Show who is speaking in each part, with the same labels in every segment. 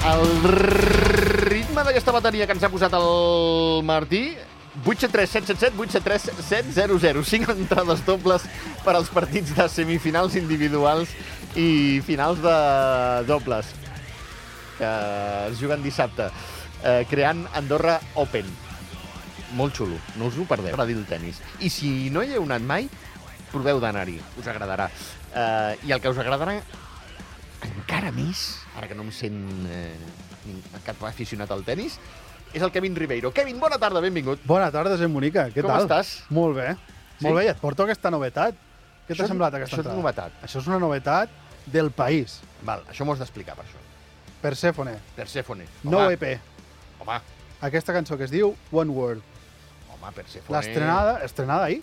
Speaker 1: El ritme d'aquesta bateria que ens ha posat el Martí 873 777 873 700 entrades dobles per als partits de semifinals individuals i finals de dobles que es juguen dissabte eh, creant Andorra Open molt xulo, no us ho perdeu per dir el tennis. i si no hi heu anat mai proveu d'anar-hi, us agradarà eh, i el que us agradarà encara més, ara que no em sent eh, nin- cap aficionat al tennis, és el Kevin Ribeiro. Kevin, bona tarda, benvingut.
Speaker 2: Bona tarda, gent bonica. Què
Speaker 1: Com
Speaker 2: tal?
Speaker 1: estàs?
Speaker 2: Molt bé.
Speaker 1: Sí?
Speaker 2: Molt bé, i et porto aquesta novetat. Què
Speaker 1: Això
Speaker 2: t'ha
Speaker 1: és-
Speaker 2: semblat aquesta
Speaker 1: això és
Speaker 2: entrada?
Speaker 1: novetat.
Speaker 2: Això és una novetat del país.
Speaker 1: Val, això m'ho has d'explicar, per això.
Speaker 2: Persephone,
Speaker 1: Persephone.
Speaker 2: nou EP.
Speaker 1: Home,
Speaker 2: Aquesta cançó que es diu One World.
Speaker 1: home, Persephone.
Speaker 2: L'estrenada, estrenada ahir,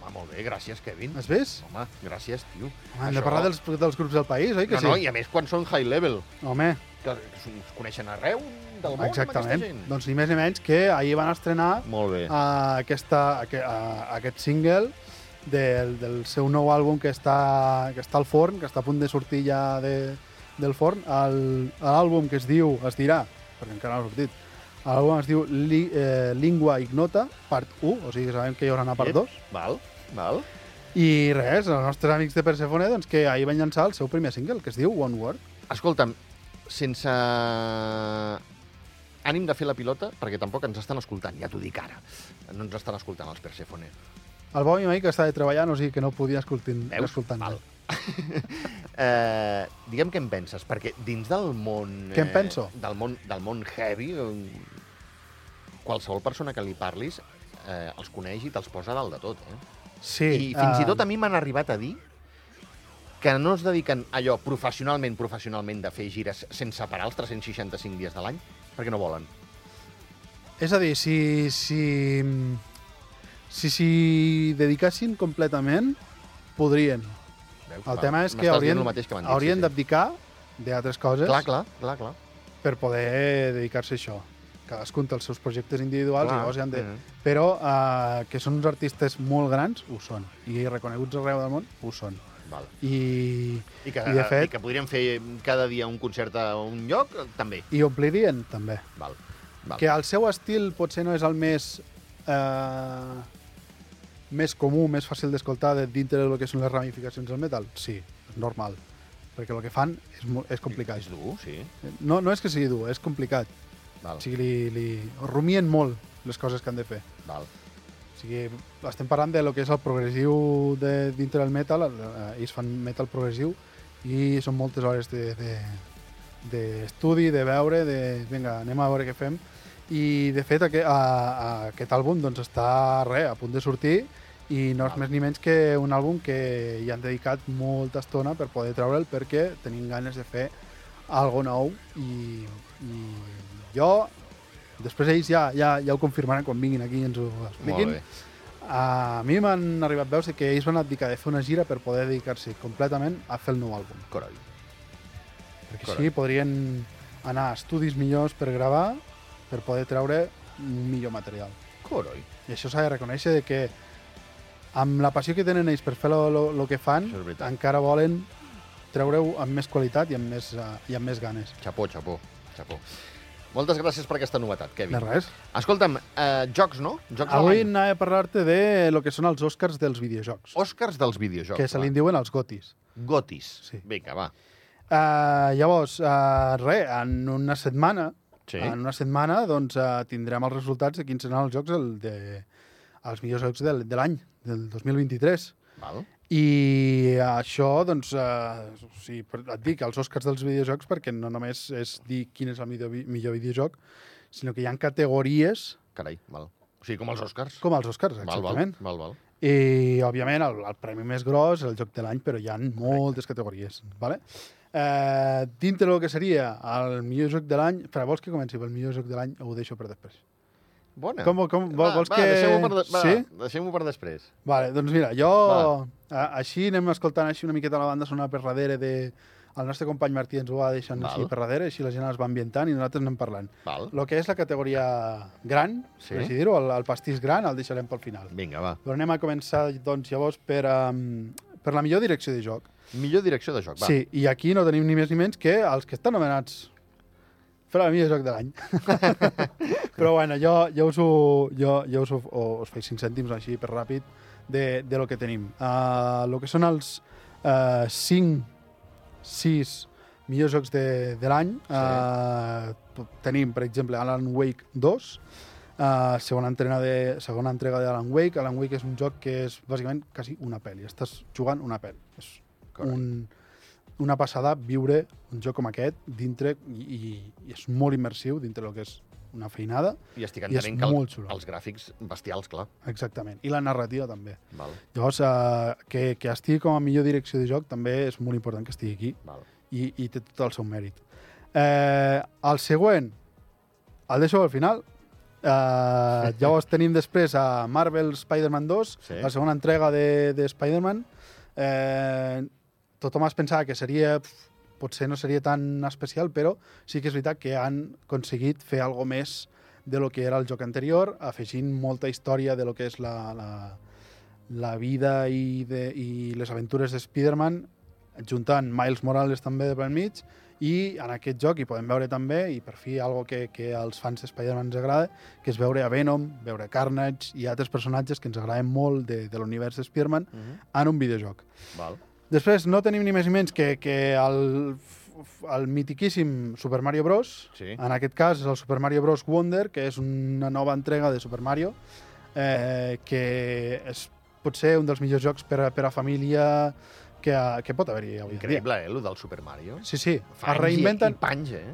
Speaker 1: Home, molt bé, gràcies, Kevin.
Speaker 2: has vist?
Speaker 1: Home, gràcies, tio.
Speaker 2: Hem de parlar dels, dels grups del país, oi
Speaker 1: No,
Speaker 2: que
Speaker 1: no,
Speaker 2: sí?
Speaker 1: i a més quan són high level,
Speaker 2: Home,
Speaker 1: que es coneixen arreu del món,
Speaker 2: exactament.
Speaker 1: amb aquesta gent.
Speaker 2: Doncs Ah, ni més ni menys que ahir van estrenar
Speaker 1: Molt bé.
Speaker 2: a aquesta, a, que- a, aquest single del, del seu nou àlbum que està, que està al forn, que està a punt de sortir ja de, del forn. El- L'àlbum que es diu, es dirà, perquè encara no ha sortit, l'àlbum es diu Li, eh, Lingua Ignota, part 1, o sigui que sabem que hi haurà una part
Speaker 1: Ep,
Speaker 2: 2.
Speaker 1: Val, val.
Speaker 2: I res, els nostres amics de Persephone, doncs, que ahir van llançar el seu primer single, que es diu One Word.
Speaker 1: Escolta'm, sense ànim de fer la pilota, perquè tampoc ens estan escoltant, ja t'ho dic ara. No ens estan escoltant els Persephone.
Speaker 2: El Bob i Mike estava treballant, o sigui que no podia escoltar,
Speaker 1: Veus?
Speaker 2: escoltar
Speaker 1: Val. eh, diguem què en penses, perquè dins del món... eh,
Speaker 2: Què en penso?
Speaker 1: Del món, del món heavy, eh, qualsevol persona que li parlis eh, els coneix i te'ls posa a dalt de tot. Eh?
Speaker 2: Sí,
Speaker 1: I fins
Speaker 2: eh,
Speaker 1: i tot a mi m'han arribat a dir que no es dediquen a allò professionalment, professionalment, de fer gires sense parar els 365 dies de l'any, perquè no volen.
Speaker 2: És a dir, si si si s'hi dedicassin completament, podrien.
Speaker 1: Veus?
Speaker 2: El
Speaker 1: Va,
Speaker 2: tema és que
Speaker 1: m'estàs
Speaker 2: haurien,
Speaker 1: dient el mateix que m'han dit,
Speaker 2: haurien
Speaker 1: sí, sí.
Speaker 2: d'abdicar d'altres coses
Speaker 1: Clar, clar, clar, clar.
Speaker 2: per poder dedicar-se a això. Cadascun té els seus projectes individuals,
Speaker 1: Clar,
Speaker 2: clar, llavors hi han de...
Speaker 1: mhm.
Speaker 2: Però eh, que són uns artistes molt grans, ho són. I reconeguts arreu del món, ho són.
Speaker 1: Val.
Speaker 2: I,
Speaker 1: I que,
Speaker 2: I de fet-
Speaker 1: I que podríem fer cada dia un concert a un lloc, eh, també.
Speaker 2: i omplirien, també.
Speaker 1: Val. Val.
Speaker 2: que el seu estil potser no és el més eh, més comú, més fàcil d'escoltar de dintre del que són les ramificacions del metal? Sí, és normal, perquè el que fan és, mo- és complicat.
Speaker 1: És dur, sí.
Speaker 2: No, no és que sigui dur, és complicat.
Speaker 1: Val,
Speaker 2: O
Speaker 1: sí.
Speaker 2: sigui, li, li rumien molt les coses que han de fer.
Speaker 1: val.
Speaker 2: O sigui, estem parlant de lo que és el progressiu de, dintre del metal, eh, ells fan metal progressiu i són moltes hores de- de- d'estudi, de, de veure, de vinga, anem a veure què fem. I de fet aquest, a, a aquest àlbum doncs, està re, a punt de sortir i no és més ni menys que un àlbum que hi han dedicat molta estona per poder treure'l perquè tenim ganes de fer algo nou i, i jo després ells ja, ja, ja ho confirmaran quan vinguin aquí i ens ho expliquin.
Speaker 1: Molt bé.
Speaker 2: A mi m'han arribat veus de que ells van abdicar de fer una gira per poder dedicar-se completament a fer el nou àlbum.
Speaker 1: Coroi.
Speaker 2: Perquè
Speaker 1: Correcte.
Speaker 2: així podrien anar a estudis millors per gravar, per poder treure un millor material.
Speaker 1: Coroi.
Speaker 2: I això s'ha de reconèixer de que amb la passió que tenen ells per fer el que fan,
Speaker 1: Això és veritat.
Speaker 2: encara volen treure-ho amb més qualitat i amb més, eh, i amb més ganes.
Speaker 1: Xapó, xapó, xapó. Moltes gràcies per aquesta novetat, Kevin.
Speaker 2: De res.
Speaker 1: Escolta'm, eh, jocs, no? Jocs
Speaker 2: Avui
Speaker 1: de l'any.
Speaker 2: anava a parlar-te de lo que són els Oscars dels videojocs,
Speaker 1: Òscars dels videojocs.
Speaker 2: que se li
Speaker 1: va.
Speaker 2: en diuen els gotis.
Speaker 1: Gotis.
Speaker 2: Sí.
Speaker 1: Vinga, va.
Speaker 2: Uh, llavors, uh, res, en una setmana,
Speaker 1: Sí.
Speaker 2: en una setmana doncs, uh, tindrem els resultats de quins seran els jocs el de, els millors jocs del, de l'any, del 2023.
Speaker 1: Val.
Speaker 2: I això, doncs, uh, o sigui, per- et dic, els Oscars dels videojocs, perquè no només és dir quin és el millor, vi- millor videojoc, sinó que hi ha categories
Speaker 1: Carai, val. O sigui, com els Òscars.
Speaker 2: com els Oscars,
Speaker 1: Val, val,
Speaker 2: exactament.
Speaker 1: val, val.
Speaker 2: I, òbviament, el, el premi més gros és el joc de l'any, però hi ha moltes categories. Vale? Eh, dintre del que seria el millor joc de l'any... Però vols que comenci pel millor joc de l'any o ho deixo per després?
Speaker 1: Bona.
Speaker 2: Com, com,
Speaker 1: va,
Speaker 2: va, vols
Speaker 1: va,
Speaker 2: que...
Speaker 1: deixem-ho per, de... va,
Speaker 2: Sí?
Speaker 1: deixem per després.
Speaker 2: Vale, doncs mira, jo... A, així anem escoltant així una miqueta la banda sonora per darrere de... El nostre company Martí ens ho va deixant
Speaker 1: Val.
Speaker 2: així per darrere, així la gent es va ambientant i nosaltres anem parlant.
Speaker 1: Val.
Speaker 2: El que és la categoria gran,
Speaker 1: Sí.
Speaker 2: sí. per així dir-ho, el, el pastís gran, el deixarem pel final.
Speaker 1: Vinga, va.
Speaker 2: Però anem a començar, doncs, llavors, per, um, per la millor direcció de joc.
Speaker 1: Millor direcció de joc, va.
Speaker 2: Sí, i aquí no tenim ni més ni menys que els que estan nomenats Però a mi és joc de l'any. Però bueno, jo, jo us, ho, jo, jo us, ho, o, us faig 5 cèntims així per ràpid de, de lo que tenim. Uh, lo que són els uh, 5, 6 millors jocs de, de l'any. Uh, tenim, per exemple, Alan Wake 2, Uh, segona, entrena de, segona entrega de Alan Wake. Alan Wake és un joc que és bàsicament quasi una pel·li. Estàs jugant una pel·li. És un, una passada viure un joc com aquest dintre i, i, i és molt immersiu dintre el que és una feinada.
Speaker 1: I estic
Speaker 2: I és
Speaker 1: entenent que el,
Speaker 2: molt xulo.
Speaker 1: els gràfics bestials, clar.
Speaker 2: Exactament. I la narrativa també.
Speaker 1: Val,
Speaker 2: Llavors, eh, que, que estigui com a millor direcció de joc també és molt important que estigui aquí
Speaker 1: val.
Speaker 2: i, i té tot el seu mèrit. Eh, el següent, el deixo al final. Eh, llavors tenim després a Marvel Spider-Man 2,
Speaker 1: Sí.
Speaker 2: sí. la segona entrega de, de Spider-Man. Eh, tothom es pensava que seria pf, potser no seria tan especial, però sí que és veritat que han aconseguit fer algo més de lo que era el joc anterior, afegint molta història de lo que és la, la, la vida i, de, i les aventures de Spider-Man, juntant Miles Morales també pel mig, i en aquest joc hi podem veure també, i per fi algo que, que als fans de Spider-Man ens agrada, que és veure a Venom, veure Carnage i altres personatges que ens agraden molt de, de l'univers de Spider-Man
Speaker 1: Mm -hmm.
Speaker 2: en un videojoc.
Speaker 1: Val.
Speaker 2: Després, no tenim ni més ni menys que, que el, el mitiquíssim Super Mario Bros.
Speaker 1: Sí.
Speaker 2: En aquest cas és el Super Mario Bros. Wonder, que és una nova entrega de Super Mario, eh, que és potser un dels millors jocs per a, per a família que, que pot haver-hi avui en dia.
Speaker 1: Increïble, eh, el del Super Mario.
Speaker 2: Sí, sí,
Speaker 1: Fa
Speaker 2: es
Speaker 1: anys i-
Speaker 2: reinventen.
Speaker 1: I panys, eh?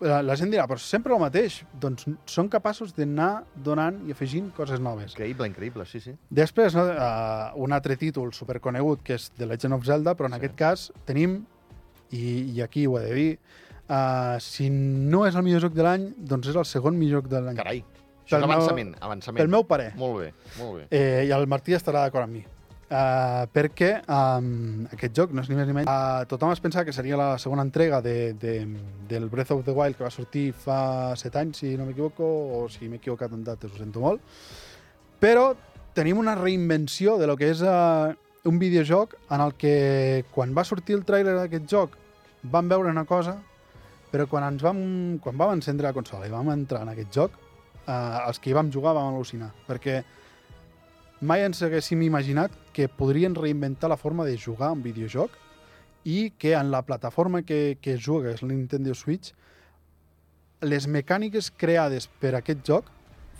Speaker 2: La, la gent dirà, però sempre el mateix. Doncs són capaços d'anar donant i afegint coses noves.
Speaker 1: Increïble, increïble, sí, sí.
Speaker 2: Després, no, uh, un altre títol superconegut, que és The Legend of Zelda, però
Speaker 1: Sí.
Speaker 2: en sí. aquest cas tenim, i, i aquí ho he de dir, uh, si no és el millor joc de l'any, doncs és el segon millor joc de l'any.
Speaker 1: Carai. Això és
Speaker 2: Pel meu-
Speaker 1: avançament, avançament.
Speaker 2: Pel meu parer.
Speaker 1: Molt bé, molt bé.
Speaker 2: Eh, I el Martí estarà d'acord amb mi. Uh, perquè um, aquest joc no és ni més ni menys uh, tothom es pensava que seria la segona entrega de, de, del Breath of the Wild que va sortir fa 7 anys si no m'equivoco o si m'he equivocat en dates ho sento molt però tenim una reinvenció de lo que és uh, un videojoc en el que quan va sortir el tràiler d'aquest joc vam veure una cosa però quan ens vam, quan vam encendre la consola i vam entrar en aquest joc uh, els que hi vam jugar vam al·lucinar perquè mai ens haguéssim imaginat que podrien reinventar la forma de jugar a un videojoc i que en la plataforma que, que es juga, que és la Nintendo Switch, les mecàniques creades per aquest joc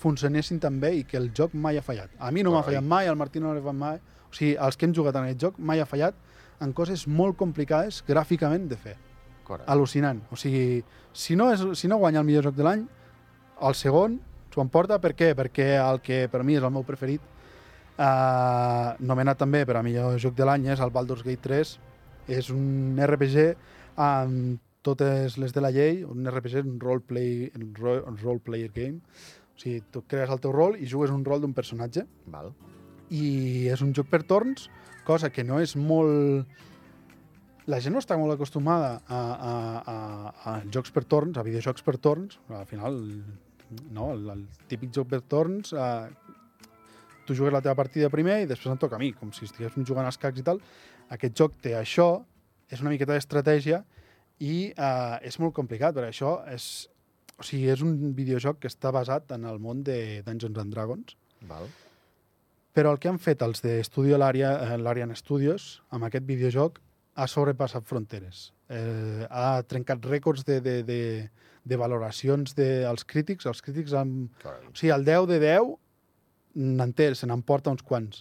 Speaker 2: funcionessin també i que el joc mai ha fallat. A mi no m'ha
Speaker 1: Carai.
Speaker 2: fallat mai, al Martí no l'ha fallat mai, o sigui, els que hem jugat en aquest joc mai ha fallat en coses molt complicades gràficament de fer.
Speaker 1: Cora.
Speaker 2: Al·lucinant. O sigui, si no, és, si no guanya el millor joc de l'any, el segon s'ho emporta. Per què? Perquè el que per mi és el meu preferit, eh, nomenat també per a millor joc de l'any, és el Baldur's Gate 3. És un RPG amb totes les de la llei, un RPG, un roleplay, un ro- un role-player game. O sigui, tu crees el teu rol i jugues un rol d'un personatge
Speaker 1: Val.
Speaker 2: i és un joc per torns, cosa que no és molt... La gent no està molt acostumada a, a, a, a jocs per torns, a videojocs per torns. Al final, no, el, el típic joc per torns, eh, tu jugues la teva partida primer i després em toca a mi, com si estiguéssim jugant a escacs i tal. Aquest joc té això, és una miqueta d'estratègia i eh, és molt complicat, perquè això és... O sigui, és un videojoc que està basat en el món de Dungeons and Dragons,
Speaker 1: Val.
Speaker 2: però el que han fet els de Studio L'Àrea, eh, l'Arian Studios, amb aquest videojoc, ha sobrepassat fronteres. Eh, ha trencat rècords de, de, de, de valoracions dels crítics. Els crítics han...
Speaker 1: Carai.
Speaker 2: O sigui, el 10 de 10 n'entén, se n'emporta uns quants.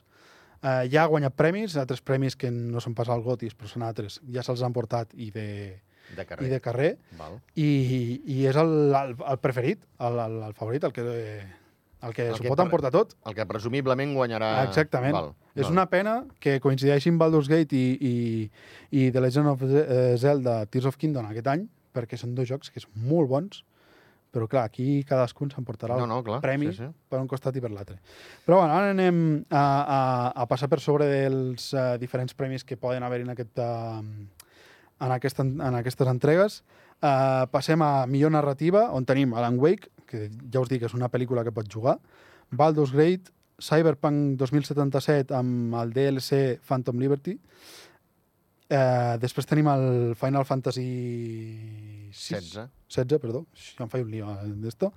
Speaker 2: Eh, ja ha guanyat premis, altres premis que no són pas al Gotis, però són altres. Ja se'ls han portat i de,
Speaker 1: De carrer.
Speaker 2: i de carrer
Speaker 1: Val.
Speaker 2: i, i és el, el, el preferit, el, el, el favorit, el que, el que
Speaker 1: El
Speaker 2: s'ho
Speaker 1: que
Speaker 2: pot
Speaker 1: per-
Speaker 2: emportar tot.
Speaker 1: El que presumiblement guanyarà...
Speaker 2: Exactament.
Speaker 1: Val.
Speaker 2: És
Speaker 1: val.
Speaker 2: una pena que coincideixin Baldur's Gate i, i, i The Legend of Ze- eh, Zelda Tears of Kingdom aquest any, perquè són dos jocs que són molt bons, però clar, aquí cadascun s'emportarà
Speaker 1: No, no, clar.
Speaker 2: premi.
Speaker 1: Sí, sí.
Speaker 2: per un costat i per l'altre. Però bueno, ara anem a, a, a passar per sobre dels uh, diferents premis que poden haver en, aquest, uh, en, aquesta, en aquestes entregues. Uh, passem a millor narrativa, on tenim Alan Wake, que ja us dic que és una pel·lícula que pot jugar, Baldur's Gate, Cyberpunk 2077 amb el DLC Phantom Liberty, Eh, després tenim el Final Fantasy 16.
Speaker 1: 16.
Speaker 2: 16, perdó, Ix, ja em faig un lío eh, d'esto,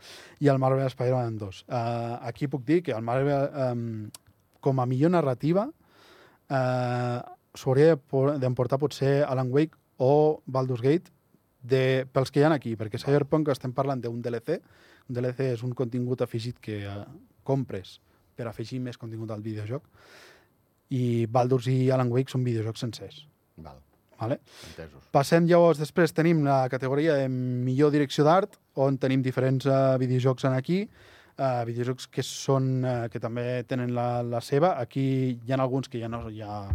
Speaker 2: i el Marvel Spider-Man 2. Uh, aquí puc dir que el Marvel, um, com a millor narrativa, uh, s'hauria de por- d'emportar potser Alan Wake o Baldur's Gate de, pels que hi ha aquí, perquè Cyberpunk estem parlant d'un DLC, un DLC és un contingut afegit que uh, compres per afegir més contingut al videojoc, i Baldur's i Alan Wake són videojocs sencers.
Speaker 1: Val,
Speaker 2: Vale?
Speaker 1: entesos.
Speaker 2: Passem llavors, després tenim la categoria de millor direcció d'art, on tenim diferents uh, videojocs en aquí, uh, videojocs que són uh, que també tenen la, la seva. Aquí hi ha alguns que ja no, ja,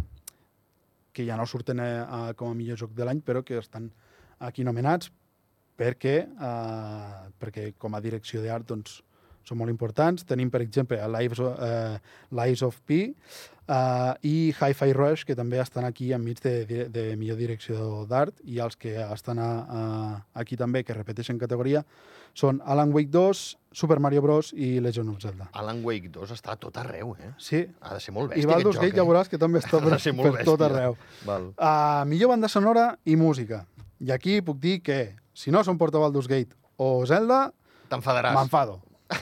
Speaker 2: que ja no surten uh, com a millor joc de l'any, però que estan aquí nomenats perquè, uh, perquè com a direcció d'art doncs, són molt importants. Tenim, per exemple, Lives, uh, Lies of P uh, i Hi-Fi Rush, que també estan aquí enmig de, de, de millor direcció d'art, i els que estan a, a, aquí també, que repeteixen categoria, són Alan Wake 2, Super Mario Bros. i Legend of Zelda.
Speaker 1: Alan Wake 2 està a tot arreu, eh?
Speaker 2: Sí,
Speaker 1: Ha de ser molt
Speaker 2: i
Speaker 1: bèstia,
Speaker 2: Baldur's Gate ja veuràs que també està
Speaker 1: Ha
Speaker 2: per,
Speaker 1: de ser molt
Speaker 2: per tot
Speaker 1: bèstia.
Speaker 2: arreu.
Speaker 1: Val.
Speaker 2: Uh, millor banda sonora i música. I aquí puc dir que, si no són Porta Baldur's Gate o Zelda,
Speaker 1: T'enfadaràs.
Speaker 2: M'enfado.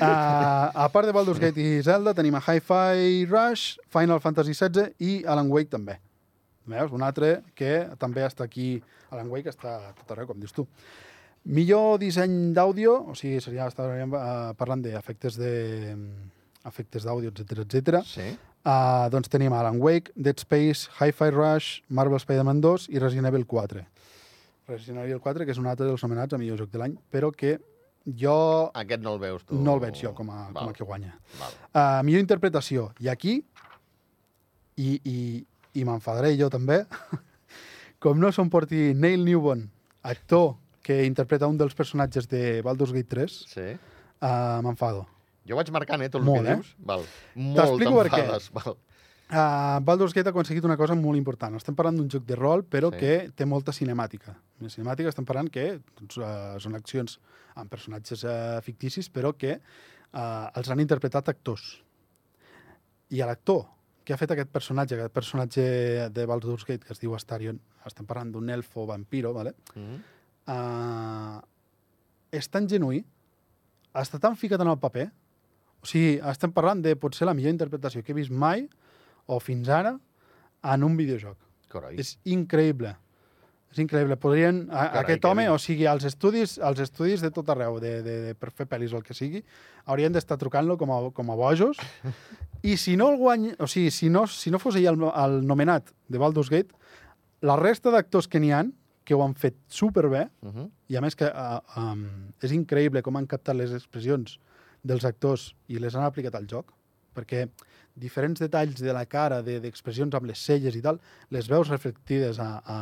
Speaker 2: uh, a part de Baldur's Gate i Zelda, tenim a Hi-Fi Rush, Final Fantasy XVI i Alan Wake també. Veus? Un altre que també està aquí. Alan Wake està a tot arreu, com dius tu. Millor disseny d'àudio, o sigui, seria, estaríem uh, parlant d'efectes de mm, efectes d'àudio, etc etc.
Speaker 1: Sí?
Speaker 2: Uh, doncs tenim Alan Wake, Dead Space, Hi-Fi Rush, Marvel Spider-Man 2 i Resident Evil 4. Resident Evil 4, que és un altre dels nomenats a millor joc de l'any, però que jo
Speaker 1: Aquest no el veus tu.
Speaker 2: no el veig jo com a,
Speaker 1: Val,
Speaker 2: com a que guanya.
Speaker 1: Val.
Speaker 2: Uh, millor interpretació. I aquí, i, i, i m'enfadaré jo també, com no se'n porti Neil Newborn, actor que interpreta un dels personatges de Baldur's Gate 3,
Speaker 1: Sí?
Speaker 2: uh, m'enfado.
Speaker 1: Jo vaig marcant, eh, tot el
Speaker 2: Molt,
Speaker 1: que
Speaker 2: eh?
Speaker 1: dius. Val. Molt
Speaker 2: T'explico per què.
Speaker 1: t'enfades. Val.
Speaker 2: Uh, Baldur's Gate ha aconseguit una cosa molt important. Estem parlant d'un joc de rol, però
Speaker 1: Sí.
Speaker 2: sí. que té molta cinemàtica. La cinemàtica estem parlant que doncs, uh, són accions amb personatges uh, ficticis, però que uh, els han interpretat actors. I a l'actor que ha fet aquest personatge, aquest personatge de Baldur's Gate que es diu Astarion, estem parlant d'un elfo vampiro, vale?
Speaker 1: Mm.
Speaker 2: uh, és tan genuí, està tan ficat en el paper, o sigui, estem parlant de potser la millor interpretació que he vist mai, o fins ara, en un videojoc.
Speaker 1: Coroi.
Speaker 2: És increïble. És increïble. Podrien, a,
Speaker 1: Carai,
Speaker 2: aquest
Speaker 1: que
Speaker 2: home,
Speaker 1: bé.
Speaker 2: o sigui, als estudis, als estudis de tot arreu, de, de, de, per fer pel·lis o el que sigui, haurien d'estar trucant-lo com, a, com a bojos. I si no el guany... O sigui, si no, si no fos ell el, el nomenat de Baldur's Gate, la resta d'actors que n'hi han, que ho han fet superbé,
Speaker 1: Mhm.
Speaker 2: i a més que uh, um, és increïble com han captat les expressions dels actors i les han aplicat al joc, perquè diferents detalls de la cara, de- d'expressions amb les celles i tal, les veus reflectides a, a,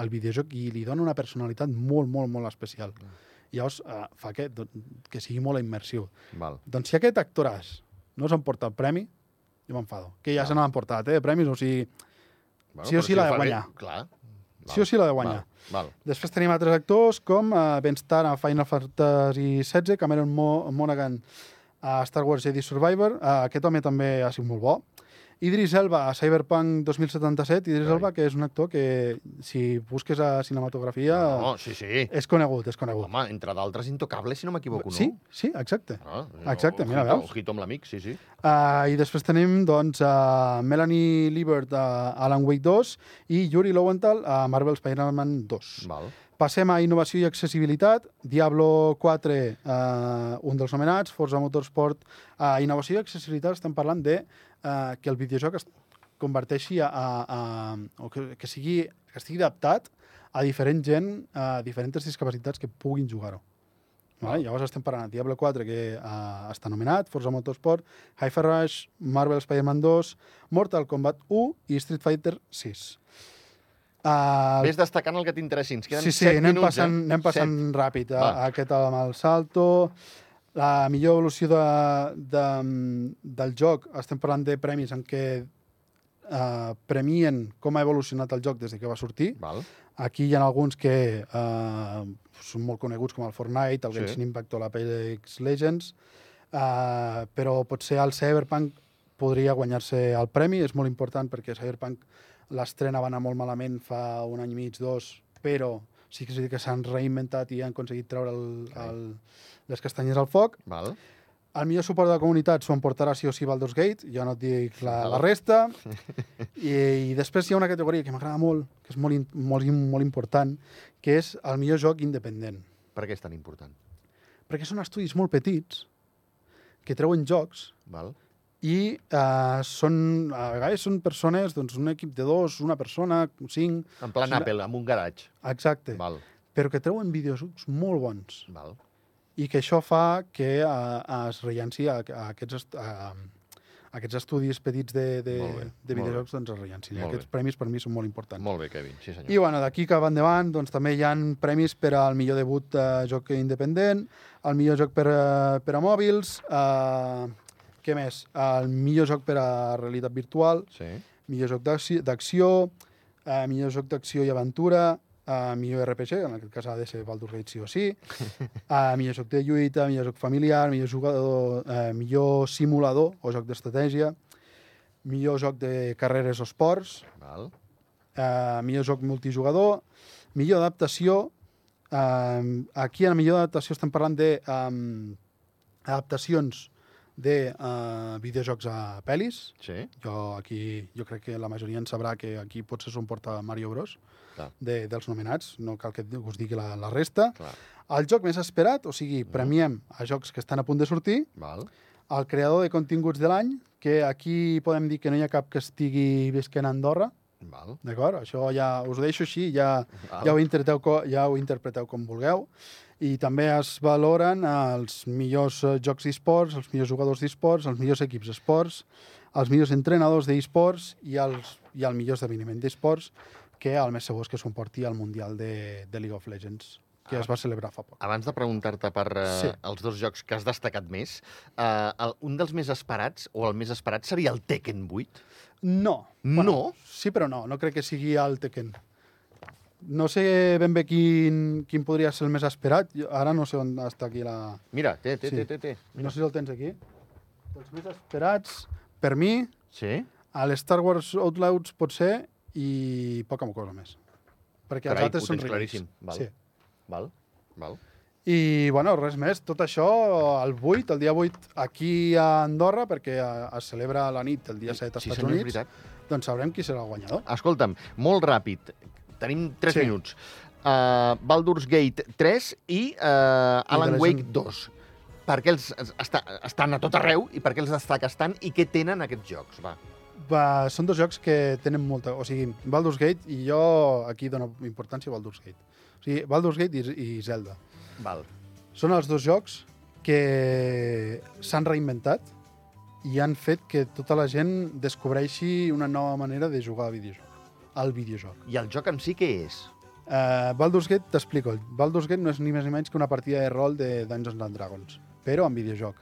Speaker 2: al videojoc i li dona una personalitat molt, molt, molt especial.
Speaker 1: Mm.
Speaker 2: Llavors uh, fa que, do- que sigui molt immersiu.
Speaker 1: Val.
Speaker 2: Doncs si aquest actoràs no s'emporta el premi, jo m'enfado. Que ja
Speaker 1: Val.
Speaker 2: se n'han portat, eh, premis, o sigui...
Speaker 1: Bueno,
Speaker 2: Sí o
Speaker 1: però
Speaker 2: sí
Speaker 1: si
Speaker 2: l'ha
Speaker 1: ho
Speaker 2: de
Speaker 1: fa bé,
Speaker 2: guanyar.
Speaker 1: Clar.
Speaker 2: Sí o sí l'ha de guanyar.
Speaker 1: Val. Val.
Speaker 2: Després tenim altres actors com uh, Ben Starr a Final Fantasy XVI, Cameron Mo Monaghan a Star Wars Jedi Survivor, uh, aquest home també ha sigut molt bo. Idris Elba a Cyberpunk 2077, Idris
Speaker 1: Carai.
Speaker 2: Elba que és un actor que si busques a cinematografia
Speaker 1: No, sí, sí.
Speaker 2: és conegut, és conegut.
Speaker 1: Ah, Home, entre d'altres, intocable, si no m'equivoco, no?
Speaker 2: sí, sí, exacte.
Speaker 1: Ah,
Speaker 2: Exacte, mira,
Speaker 1: ojito-
Speaker 2: veus?
Speaker 1: Ojito amb l'amic, sí, sí.
Speaker 2: Uh, I després tenim doncs, uh, Melanie Liebert a Alan Wake 2 i Yuri Lowenthal a Marvel Spider-Man 2.
Speaker 1: Val.
Speaker 2: Passem a innovació i accessibilitat. Diablo 4, eh, un dels nomenats, Forza Motorsport. Eh, innovació i accessibilitat estem parlant de eh, que el videojoc es converteixi a, a, a o que, que, sigui, que estigui adaptat a diferent gent, a diferents discapacitats que puguin jugar-ho. Vale? Llavors estem parlant de Diablo 4, que eh, està nomenat, Forza Motorsport, Hi-Fi Rush, Marvel Spider-Man 2, Mortal Kombat 1 i Street Fighter 6. Uh,
Speaker 1: Ves destacant el que t'interessi. Ens queden
Speaker 2: Sí, sí,
Speaker 1: set
Speaker 2: anem
Speaker 1: minuts,
Speaker 2: passant,
Speaker 1: eh?
Speaker 2: anem passant ràpid. A,
Speaker 1: Va.
Speaker 2: aquest amb el salto, la millor evolució de, de, del joc, estem parlant de premis en què eh, premien com ha evolucionat el joc des de que va sortir.
Speaker 1: Set. Val.
Speaker 2: Aquí hi ha alguns que eh, són molt coneguts, com el Fortnite, el
Speaker 1: Sí.
Speaker 2: Genshin Impact o la PX Legends, eh, però potser el Cyberpunk podria guanyar-se el premi. És molt important perquè Cyberpunk l'estrena va anar molt malament fa un any i mig, dos, però sí que sí que s'han reinventat i han aconseguit treure el, el, les castanyes al foc.
Speaker 1: Val.
Speaker 2: El millor suport de la comunitat s'ho emportarà sí o sí Baldur's Gate, ja no et dic la, la resta. I, I després hi ha una categoria que m'agrada molt, que és molt, in- molt, in- molt important, que és el millor joc independent.
Speaker 1: Per què és tan important?
Speaker 2: Perquè són estudis molt petits que treuen jocs
Speaker 1: Val.
Speaker 2: i eh, són, a vegades són persones, doncs un equip de dos, una persona, cinc,
Speaker 1: En plan
Speaker 2: Sí, la-
Speaker 1: Apple, amb un garatge.
Speaker 2: exacte,
Speaker 1: Val,
Speaker 2: però que treuen videojocs molt bons
Speaker 1: val.
Speaker 2: i que això fa que eh, es rellanci a, a aquests, est- a, a aquests estudis petits de, de,
Speaker 1: Molt bé,
Speaker 2: de
Speaker 1: molt
Speaker 2: videojocs doncs es rellancin. I
Speaker 1: Molt bé.
Speaker 2: aquests premis per mi són molt importants.
Speaker 1: Molt bé, Kevin, sí senyor.
Speaker 2: Doncs I bueno, d'aquí cap endavant doncs, també hi han premis per al millor debut de joc independent, el millor joc per, a- per a mòbils, eh, què més? El millor joc per a realitat virtual,
Speaker 1: Sí,
Speaker 2: millor joc d'acci- d'acció, eh, millor joc d'acció i aventura, eh, millor RPG, en aquest cas ha de ser Baldur's Gate sí o sí, eh, millor joc de lluita, millor joc familiar, millor jugador, eh, millor simulador o joc d'estratègia, millor joc de carreres o esports,
Speaker 1: val.
Speaker 2: eh, millor joc multijugador, millor adaptació, eh, aquí en millor adaptació estem parlant de eh, adaptacions de eh, videojocs a pel·lis,
Speaker 1: Sí,
Speaker 2: jo aquí, jo crec que la majoria en sabrà que aquí potser s'ho emporta Mario Bros.
Speaker 1: Clar.
Speaker 2: De, dels nominats, no cal que us digui la, la resta.
Speaker 1: clar.
Speaker 2: El joc més esperat, o sigui, premiem a jocs que estan a punt de sortir,
Speaker 1: Val.
Speaker 2: el creador de continguts de l'any, que aquí podem dir que no hi ha cap que estigui visquent a Andorra,
Speaker 1: Val.
Speaker 2: d'acord? Això ja us ho deixo així, ja,
Speaker 1: Val.
Speaker 2: ja, ho interpreteu, co- ja ho interpreteu com vulgueu. I també es valoren els millors eh, jocs d'esports, els millors jugadors d'esports, els millors equips d'esports, els millors entrenadors d'esports i, els, i el millor esdeveniment d'esports, que el més segur és que s'ho emporti al Mundial de, de League of Legends, que es va celebrar fa poc.
Speaker 1: Abans de preguntar-te per uh, sí.
Speaker 2: Sí.
Speaker 1: els dos jocs que has destacat més, uh, el, un dels més esperats, o el més esperat, seria el Tekken 8?
Speaker 2: No.
Speaker 1: No?
Speaker 2: Sí, però no. No crec que sigui el Tekken. No sé ben bé quin, quin podria ser el més esperat. Jo, ara no sé on està aquí la...
Speaker 1: Mira, té, té,
Speaker 2: Sí.
Speaker 1: té, té, té.
Speaker 2: No sé si el tens aquí. Els més esperats, per mi,
Speaker 1: Sí?
Speaker 2: el Star Wars Outlaws pot ser i poca cosa més. Perquè
Speaker 1: Carai,
Speaker 2: els altres
Speaker 1: ho
Speaker 2: són
Speaker 1: tens
Speaker 2: remakes.
Speaker 1: claríssim. Val.
Speaker 2: Sí.
Speaker 1: Val, val.
Speaker 2: I, bueno, res més. Tot això el 8, el dia 8, aquí a Andorra, perquè eh, es celebra la nit, el dia 7 als
Speaker 1: sí,
Speaker 2: Estats
Speaker 1: senyor, és
Speaker 2: Units.
Speaker 1: veritat.
Speaker 2: Doncs sabrem qui serà el guanyador.
Speaker 1: Escolta'm, molt ràpid. Tenim 3
Speaker 2: Sí.
Speaker 1: sí. minuts. Uh, Baldur's Gate 3 i uh, Alan
Speaker 2: The
Speaker 1: Wake
Speaker 2: Legend.
Speaker 1: 2. Per què els es- està, estan a tot arreu i per què els destaques tant i què tenen aquests jocs? Va.
Speaker 2: Va, són dos jocs que tenen molta... O sigui, Baldur's Gate, i jo aquí dono importància a Baldur's Gate. O sigui, Baldur's Gate i, i Zelda.
Speaker 1: Val.
Speaker 2: Són els dos jocs que s'han reinventat i han fet que tota la gent descobreixi una nova manera de jugar a videojoc, al videojoc.
Speaker 1: I el joc en si què és?
Speaker 2: Uh, Baldur's Gate, t'explico. Baldur's Gate no és ni més ni menys que una partida de rol de Dungeons and Dragons, però en videojoc.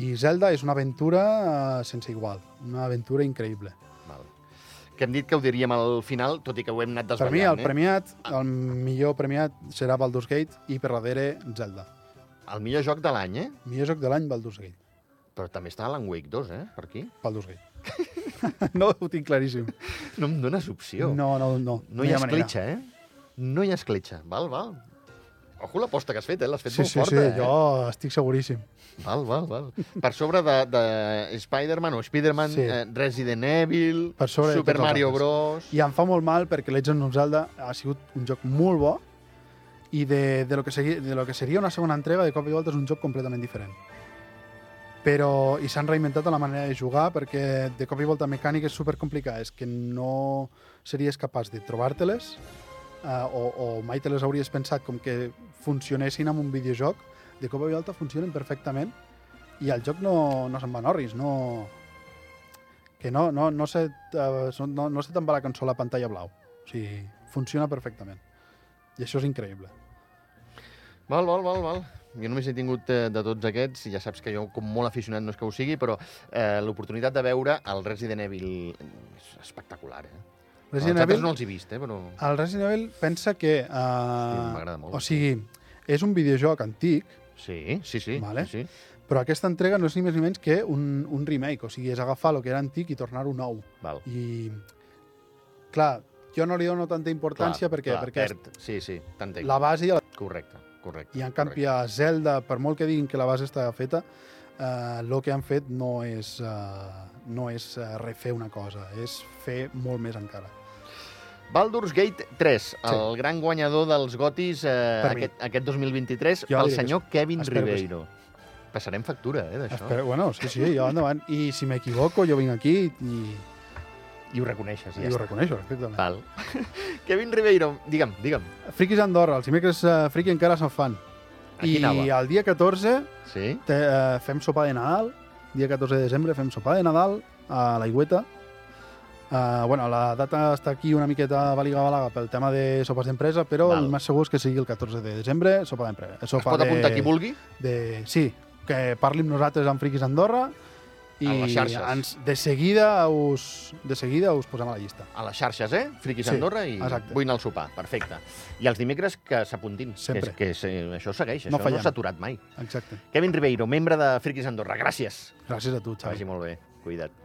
Speaker 2: I Zelda és una aventura uh, sense igual, una aventura increïble.
Speaker 1: Val. Que hem dit que ho diríem al final, tot i que ho hem anat
Speaker 2: per mi,
Speaker 1: desvetllant,
Speaker 2: el premiat, el millor premiat serà Baldur's Gate i per darrere Zelda.
Speaker 1: eh? El millor joc de l'any, eh?
Speaker 2: Millor joc de l'any, Baldur's Gate.
Speaker 1: Però també està Alan Wake 2, eh? Per aquí.
Speaker 2: Baldur's Gate. no ho tinc claríssim.
Speaker 1: No em dones opció.
Speaker 2: No, no, no.
Speaker 1: no hi ha
Speaker 2: manera.
Speaker 1: escletxa, eh? No hi ha escletxa. Val, val. Ojo l'aposta que has fet, eh? L'has fet
Speaker 2: Sí,
Speaker 1: molt
Speaker 2: sí,
Speaker 1: forta, eh?
Speaker 2: sí, jo estic seguríssim.
Speaker 1: Val, val, val. Per sobre de, de Spider-Man o Spider-Man, sí.
Speaker 2: Sí.
Speaker 1: eh, Resident Evil,
Speaker 2: Per sobre de
Speaker 1: Super
Speaker 2: tots els
Speaker 1: Mario
Speaker 2: altres.
Speaker 1: Bros...
Speaker 2: I em fa molt mal perquè Legend of Zelda ha sigut un joc molt bo i de, de, lo que segui, de lo que seria una segona entrega de cop i volta és un joc completament diferent. Però, i s'han reinventat la manera de jugar perquè de cop i volta mecànica és supercomplicada, és que no series capaç de trobar-te-les eh, o, o mai te les hauries pensat com que funcionessin en un videojoc, de cop i volta funcionen perfectament i el joc no, no se'n va en orris, no, que no, no, no, se, uh, no, no se te'n va la cançó a la pantalla blau. O sigui, funciona perfectament. I això és increïble.
Speaker 1: Val, val, val, val. Jo només he tingut eh, de tots aquests, i ja saps que jo, com molt aficionat, no és que ho sigui, però eh, l'oportunitat de veure el Resident Evil és espectacular, eh?
Speaker 2: Resident
Speaker 1: els altres
Speaker 2: Evil,
Speaker 1: no els he vist, eh, però...
Speaker 2: el Resident Evil pensa que... Uh,
Speaker 1: m'agrada molt.
Speaker 2: O sigui, és un videojoc antic,
Speaker 1: Sí, sí, sí.
Speaker 2: Vale.
Speaker 1: sí, sí.
Speaker 2: però aquesta entrega no és ni més ni menys que un, un remake. O sigui, és agafar el que era antic i tornar-ho nou.
Speaker 1: Val.
Speaker 2: I, clar, jo no li dono tanta importància clar, perquè, clar, perquè
Speaker 1: perd. Sí, sí, t'entenc. La...
Speaker 2: la base ja la...
Speaker 1: Correcte, correcte.
Speaker 2: i en canvi a Zelda, per molt que diguin que la base està feta, el lo que han fet no és, eh, no és eh, refer una cosa, és fer molt més encara.
Speaker 1: Baldur's Gate 3, sí. el gran guanyador dels gotis eh,
Speaker 2: Per mi.
Speaker 1: aquest, aquest 2023, jo
Speaker 2: Jo
Speaker 1: pel
Speaker 2: diré que
Speaker 1: senyor Kevin
Speaker 2: Espero que sí.
Speaker 1: Ribeiro. Passarem factura, eh, d'això.
Speaker 2: Espero, bueno, sí, sí, jo endavant. I si m'equivoco, jo vinc aquí i,
Speaker 1: I ho reconeixes,
Speaker 2: i
Speaker 1: ja
Speaker 2: ho
Speaker 1: està.
Speaker 2: reconeixo, perfectament.
Speaker 1: Val. Kevin Ribeiro, digue'm, digue'm.
Speaker 2: Friquis Andorra, els dimecres uh, friki encara se'n fan.
Speaker 1: Aquí
Speaker 2: I
Speaker 1: anava.
Speaker 2: el dia 14
Speaker 1: Sí?
Speaker 2: te, uh, fem sopar de Nadal, dia 14 de desembre fem sopar de Nadal a la Igüeta. Uh, bueno, la data està aquí una miqueta valiga-valaga pel tema de sopars d'empresa, però
Speaker 1: Val.
Speaker 2: el més segur és que sigui el 14 de desembre, sopa d'empresa. eh,
Speaker 1: Es
Speaker 2: Sopa
Speaker 1: pot apuntar
Speaker 2: de,
Speaker 1: qui vulgui?
Speaker 2: de, sí, que parli amb nosaltres amb Friquis Andorra i
Speaker 1: En les xarxes.
Speaker 2: ens, de, seguida us, de seguida us posem a la llista.
Speaker 1: A les xarxes, eh? Friquis sí,
Speaker 2: Sí,
Speaker 1: Andorra i
Speaker 2: exacte.
Speaker 1: vull anar al sopar. Perfecte. I els dimecres que s'apuntin.
Speaker 2: Sempre.
Speaker 1: Que, és- que és- això segueix, això
Speaker 2: No
Speaker 1: no
Speaker 2: fallem.
Speaker 1: s'ha aturat mai.
Speaker 2: Exacte.
Speaker 1: Kevin Ribeiro, membre de Friquis Andorra. Gràcies.
Speaker 2: Gràcies a tu,
Speaker 1: Que vagi
Speaker 2: Xavi.
Speaker 1: molt bé, cuida't.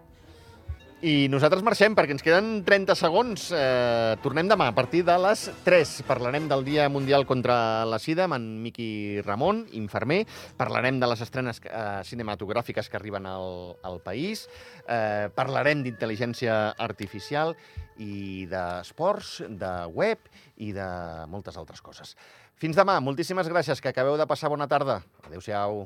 Speaker 1: I nosaltres marxem perquè ens queden 30 segons. Eh, tornem demà a partir de les 3. Parlarem del Dia Mundial contra la Sida amb en Miqui Ramon, infermer. Parlarem de les estrenes eh, cinematogràfiques que arriben al, al país. Eh, parlarem d'intel·ligència artificial i d'esports, de web i de moltes altres coses. Fins demà. Moltíssimes gràcies. Que acabeu de passar bona tarda. Adéu-siau.